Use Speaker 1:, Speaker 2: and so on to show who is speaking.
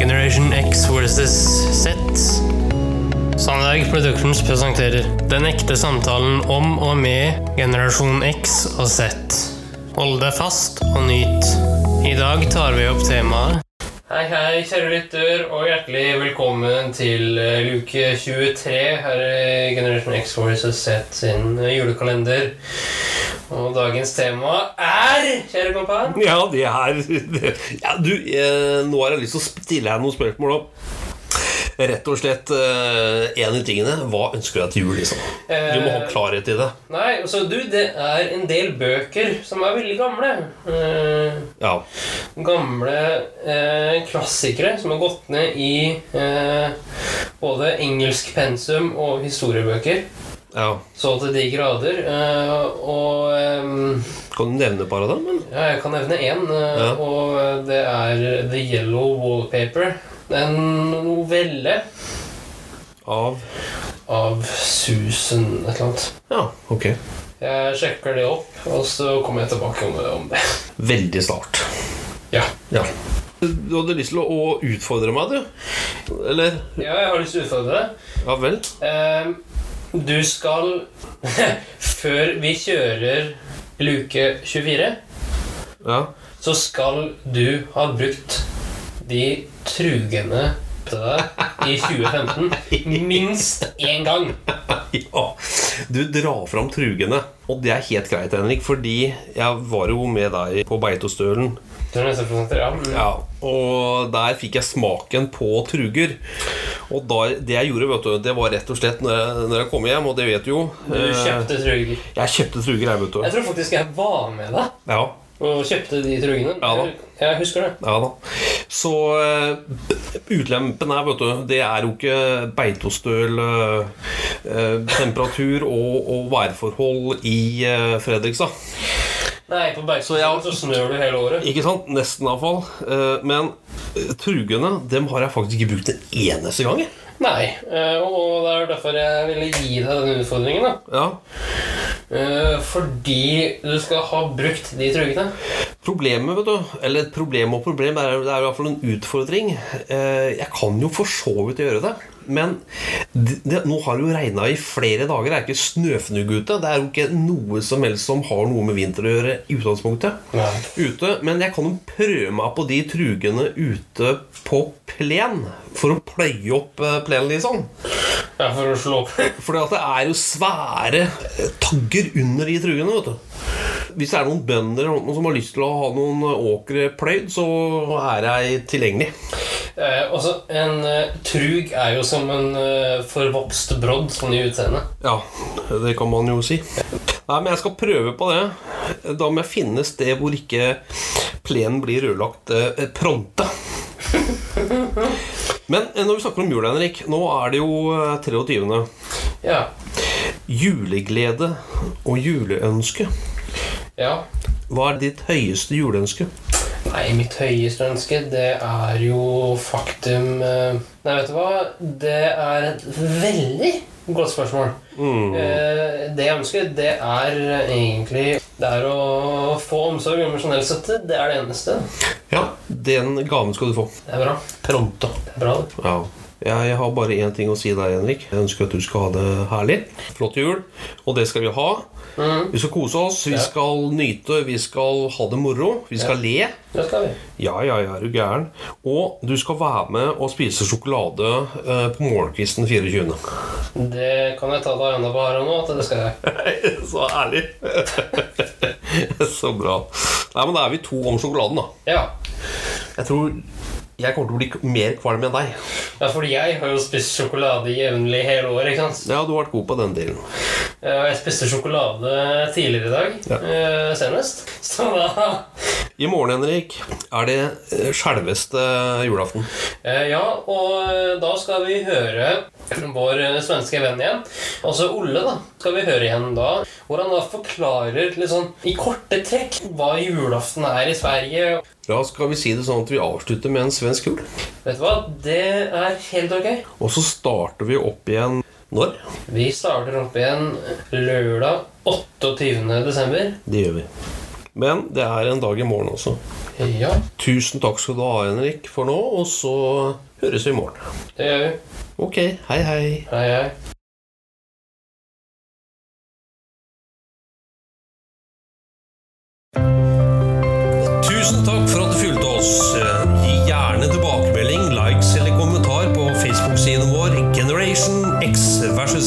Speaker 1: Generation X versus Z. Sandberg Productions presenterer Den ekte samtalen om og med generasjon X og Z. Hold deg fast og nyt. I dag tar vi opp temaet Hei, hei, kjære lytter, og hjertelig velkommen til eh, luke 23 her i Generation X Forces Z sin eh, julekalender. Og dagens tema er, kjære kompan
Speaker 2: Ja, det her det, ja, Du, eh, nå har jeg lyst til å stille deg noen spørsmål om Rett og slett eh, en av tingene Hva ønsker du deg til jul, liksom? Du
Speaker 1: eh,
Speaker 2: må ha klarhet i det.
Speaker 1: Nei, altså du, det er en del bøker som er veldig gamle. Eh,
Speaker 2: Ja.
Speaker 1: gamle eh, klassikere som har gått ned i eh, både engelsk pensum og historiebøker.
Speaker 2: ja.
Speaker 1: Så til de grader. Eh, og ehm,
Speaker 2: Kan du nevne et par av dem? Eller?
Speaker 1: Ja, jeg kan nevne én, eh,
Speaker 2: Ja.
Speaker 1: og eh, det er The Yellow Wallpaper. En novelle
Speaker 2: Av
Speaker 1: av Susan et eller annet.
Speaker 2: Ja, ok.
Speaker 1: Jeg sjekker det opp, og så kommer jeg tilbake om, om det.
Speaker 2: Veldig snart.
Speaker 1: Ja.
Speaker 2: Ja. Du hadde lyst til å å utfordre meg, du? Eller?
Speaker 1: ja, jeg har lyst til å utfordre deg.
Speaker 2: Ja vel?
Speaker 1: Ehm, Du skal Før vi kjører luke 24,
Speaker 2: Ja.
Speaker 1: så skal du ha brukt de trugene på deg i 2015 minst én gang.
Speaker 2: ja. Du drar fram trugene. Og det er helt greit, Henrik, fordi jeg var jo med deg på Beitostølen
Speaker 1: Du er nesten prosenter, ja.
Speaker 2: Ja, og der fikk jeg smaken på truger. Og da, det jeg gjorde, vet du, det var rett og slett når jeg, når jeg kom hjem, og det vet du jo
Speaker 1: Du
Speaker 2: eh,
Speaker 1: kjøpte truger.
Speaker 2: Jeg kjøpte truger, jeg,
Speaker 1: Jeg
Speaker 2: vet du.
Speaker 1: tror faktisk jeg var med deg
Speaker 2: Ja,
Speaker 1: og kjøpte de trugene.
Speaker 2: Ja da.
Speaker 1: Jeg husker det.
Speaker 2: ja da. Så eh, utlempen her, vet du, det er jo ikke beitostøl, eh, eh, temperatur og, og værforhold i eh, Fredrikstad.
Speaker 1: Nei, på
Speaker 2: Så jeg-
Speaker 1: Bergstuen så snør du hele året.
Speaker 2: Ikke sant? Nesten iallfall. Eh, men eh, trugene, dem har jeg faktisk ikke brukt en eneste gang. jeg.
Speaker 1: Nei, eh, og det er derfor jeg ville gi deg denne utfordringen. da
Speaker 2: Ja.
Speaker 1: Eh, Fordi du skal ha brukt de trugene.
Speaker 2: Problemet, vet du Eller et problem og problem Det er, det er i hvert fall en utfordring Eh, Jeg kan jo for så vidt gjøre det Men det, det, nå har det jo regnet i flere dager Det er ikke snøfnugg ute Det er jo ikke noe som helst som har noe med vinter å gjøre I utgangspunktet
Speaker 1: Nei.
Speaker 2: Ute, men jeg kan jo prøve meg på de trugene ute på plen For å pløye opp eh, plenen litt sånn
Speaker 1: Ja, for å slå opp.
Speaker 2: fordi at det er jo svære eh, tagger under de trugene, vet du. Hvis det er noen bønder eller noen som har lyst til å ha noen eh, åkre pløyd, så er jeg tilgjengelig.
Speaker 1: Eh, også, en eh, trug er jo som en eh, forvokst brodd, sånn i utseendet.
Speaker 2: Ja, det kan man jo si. Nei, men jeg skal prøve på det. Da må jeg finne et sted hvor ikke plenen blir rødlagt eh, pronte. Men eh, når vi snakker om jul, Henrik, nå er det jo eh, 23.
Speaker 1: Ja.
Speaker 2: Juleglede og juleønske.
Speaker 1: ja.
Speaker 2: Hva er ditt høyeste juleønske?
Speaker 1: Nei, mitt høyeste ønske, det er jo faktum eh, Nei, vet du hva? Det er et veldig godt spørsmål. Eh, det jeg ønsker, det er egentlig Det er å få omsorg og emosjonell støtte. Det er det eneste.
Speaker 2: Ja, den gaven skal du få.
Speaker 1: Det er bra.
Speaker 2: Pronto.
Speaker 1: Det er bra, det.
Speaker 2: Ja. Jeg, jeg har bare én ting å si deg, Henrik. Jeg ønsker at du skal ha det herlig. Flott jul. Og det skal vi ha.
Speaker 1: Mm.
Speaker 2: Vi skal kose oss, vi
Speaker 1: Ja.
Speaker 2: skal nyte, vi skal ha det moro. Vi skal le.
Speaker 1: Det skal vi.
Speaker 2: Ja, ja, ja, er du gæren. Og du skal være med og spise sjokolade eh, på morgenkvisten 24.
Speaker 1: Det kan jeg ta deg enda på her og nå, at det skal jeg.
Speaker 2: Så ærlig. Så bra. Nei, men da er vi to om sjokoladen, da.
Speaker 1: Ja.
Speaker 2: Jeg tror jeg kommer til å bli mer kvalm enn deg.
Speaker 1: ja, fordi jeg har jo spist sjokolade jevnlig hele året, ikke sant.
Speaker 2: Ja, du har vært god på den delen.
Speaker 1: Eh, og Jeg spiste sjokolade tidligere i dag,
Speaker 2: Ja.
Speaker 1: eh, senest. Så da
Speaker 2: I morgen, Henrik, er det eh, selveste julaften.
Speaker 1: eh, Ja, og eh, da skal vi høre vår eh, svenske venn igjen. Altså Olle, da. Skal vi høre igjen da. Hvor han da forklarer litt sånn i korte trekk hva julaften er i Sverige.
Speaker 2: Da skal vi si det sånn at vi avslutter med en svensk jul.
Speaker 1: Vet du hva? Det er helt ok.
Speaker 2: Og så starter vi opp igjen når?
Speaker 1: Vi starter opp igjen lørdag 28. desember.
Speaker 2: Det gjør vi. Men det er en dag i morgen også.
Speaker 1: Ja,
Speaker 2: Tusen takk skal du ha, Henrik, for nå, og så høres vi i morgen.
Speaker 1: det gjør vi.
Speaker 2: Ok, hei, hei.
Speaker 1: Hei, hei.
Speaker 2: Tusen takk for at du fulgte oss. Eh, Gi gjerne tilbakemelding, likes eller kommentar på Facebook-siden vår Generation X versus